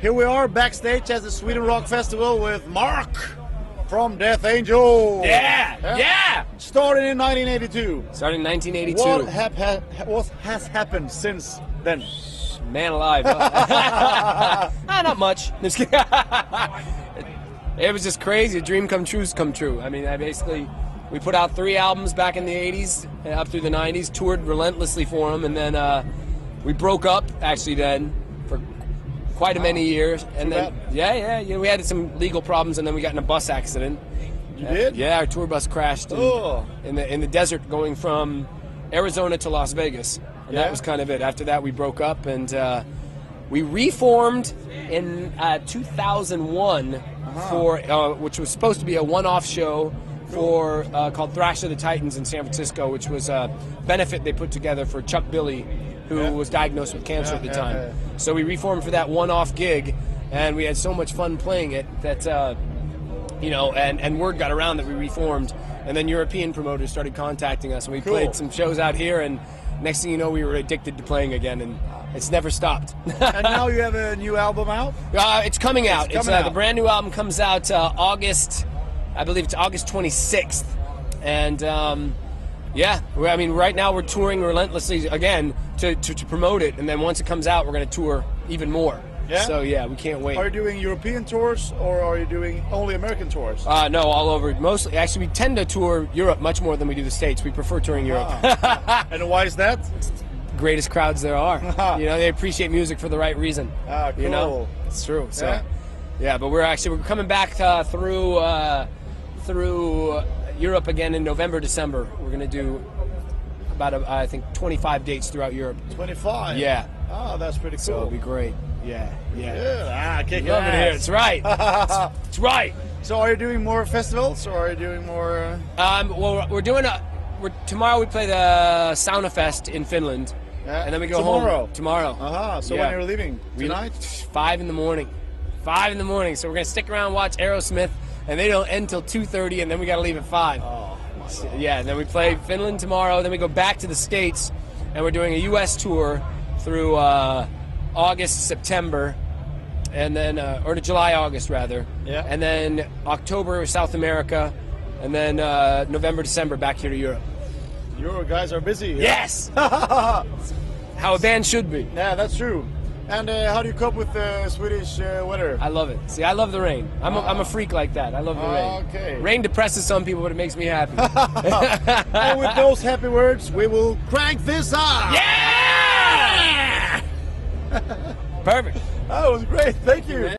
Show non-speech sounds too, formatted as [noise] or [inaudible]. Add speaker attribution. Speaker 1: Here we are backstage at the Sweden Rock Festival with Mark from Death Angel.
Speaker 2: Yeah, yeah.
Speaker 1: Started in 1982.
Speaker 2: Started in 1982.
Speaker 1: What, hap- ha- what has happened since then?
Speaker 2: Man alive.
Speaker 1: [laughs]
Speaker 2: huh? ah, not much. [laughs] Just kidding. it was just crazy. A dream come true's come true. I mean, I basically, we put out three albums back in the 80s, and up through the 90s, toured relentlessly for them, and then uh, we broke up actually then for quite a many years. And
Speaker 1: Too
Speaker 2: then,
Speaker 1: bad.
Speaker 2: yeah, yeah, yeah, we had some legal problems, and then we got in a bus accident.
Speaker 1: You did?
Speaker 2: Yeah, our tour bus crashed in,
Speaker 1: Oh.
Speaker 2: in the in the desert going from Arizona to Las Vegas. And
Speaker 1: Yeah.
Speaker 2: that was kind of it. After that, we broke up and uh, we reformed in uh, 2001
Speaker 1: Uh-huh.
Speaker 2: for uh, which was supposed to be a one-off show for uh, called Thrash of the Titans in San Francisco, which was a benefit they put together for Chuck Billy, who
Speaker 1: Yeah.
Speaker 2: was diagnosed with cancer
Speaker 1: Yeah,
Speaker 2: at the
Speaker 1: yeah,
Speaker 2: time.
Speaker 1: yeah.
Speaker 2: So we reformed for that one-off gig, and we had so much fun playing it that uh, you know, and and word got around that we reformed, and then European promoters started contacting us, and we
Speaker 1: Cool.
Speaker 2: played some shows out here, and next thing you know, we were addicted to playing again, and it's never stopped. [laughs]
Speaker 1: and now you have a new album out.
Speaker 2: Uh, it's coming out. It's,
Speaker 1: coming
Speaker 2: uh,
Speaker 1: out.
Speaker 2: The brand new album comes out uh, August, I believe it's August 26th. And um, yeah, we- I mean, right now we're touring relentlessly again to, to, to promote it. And then once it comes out, we're going to tour even more.
Speaker 1: Yeah?
Speaker 2: So yeah, we can't wait.
Speaker 1: Are you doing European tours or are you doing only American tours?
Speaker 2: Uh, no, all over. Mostly, actually, we tend to tour Europe much more than we do the States. We prefer touring Europe.
Speaker 1: Ah.
Speaker 2: Ah.
Speaker 1: and why is that?
Speaker 2: [laughs] Greatest crowds
Speaker 1: [laughs]
Speaker 2: there are. you know, they appreciate music for the right reason.
Speaker 1: Ah,
Speaker 2: You
Speaker 1: cool.
Speaker 2: know, it's true. So,
Speaker 1: Yeah.
Speaker 2: yeah, but we're actually we're coming back uh, through uh, through uh, Europe again in November, December. We're gonna do about uh, I think 25 dates throughout Europe.
Speaker 1: 25.
Speaker 2: Yeah.
Speaker 1: Oh, that's pretty cool.
Speaker 2: So it'll be great. Yeah, yeah.
Speaker 1: Yeah, ah, kick
Speaker 2: Love it here.
Speaker 1: ass.
Speaker 2: It's right.
Speaker 1: [laughs]
Speaker 2: it's, it's right.
Speaker 1: So are you doing more festivals or are you doing more? Uh,
Speaker 2: Um, well, we're- we're doing a. We're, tomorrow we play the Sauna Fest in Finland,
Speaker 1: Yeah.
Speaker 2: and then we go
Speaker 1: Tomorrow?
Speaker 2: home tomorrow.
Speaker 1: uh-huh. So
Speaker 2: Yeah.
Speaker 1: when you're leaving
Speaker 2: We-
Speaker 1: tonight?
Speaker 2: Five in the morning. Five in the morning. So we're gonna stick around, watch Aerosmith, and they don't end till two thirty, and then we gotta leave at five.
Speaker 1: Oh, my
Speaker 2: So, yeah, and then we play Finland tomorrow. Then we go back to the states, and we're doing a U.S. tour through uh, August, September, and then uh, or to July, August rather.
Speaker 1: Yeah.
Speaker 2: And then October, South America, and then uh, November, December, back here to Europe.
Speaker 1: your guys are busy. [laughs]
Speaker 2: Yes. How a band should be.
Speaker 1: Yeah, that's true. And uh, how do you cope with the Swedish uh,
Speaker 2: [laughs]
Speaker 1: weather?
Speaker 2: I love it. See, I love the rain. I'm, a, I'm a freak like that. I love the rain.
Speaker 1: Okay.
Speaker 2: Rain depresses some people, but it makes me
Speaker 1: [laughs]
Speaker 2: happy.
Speaker 1: and with those happy words, we will crank this up.
Speaker 2: yeah! Perfect.
Speaker 1: That was great. Thank you.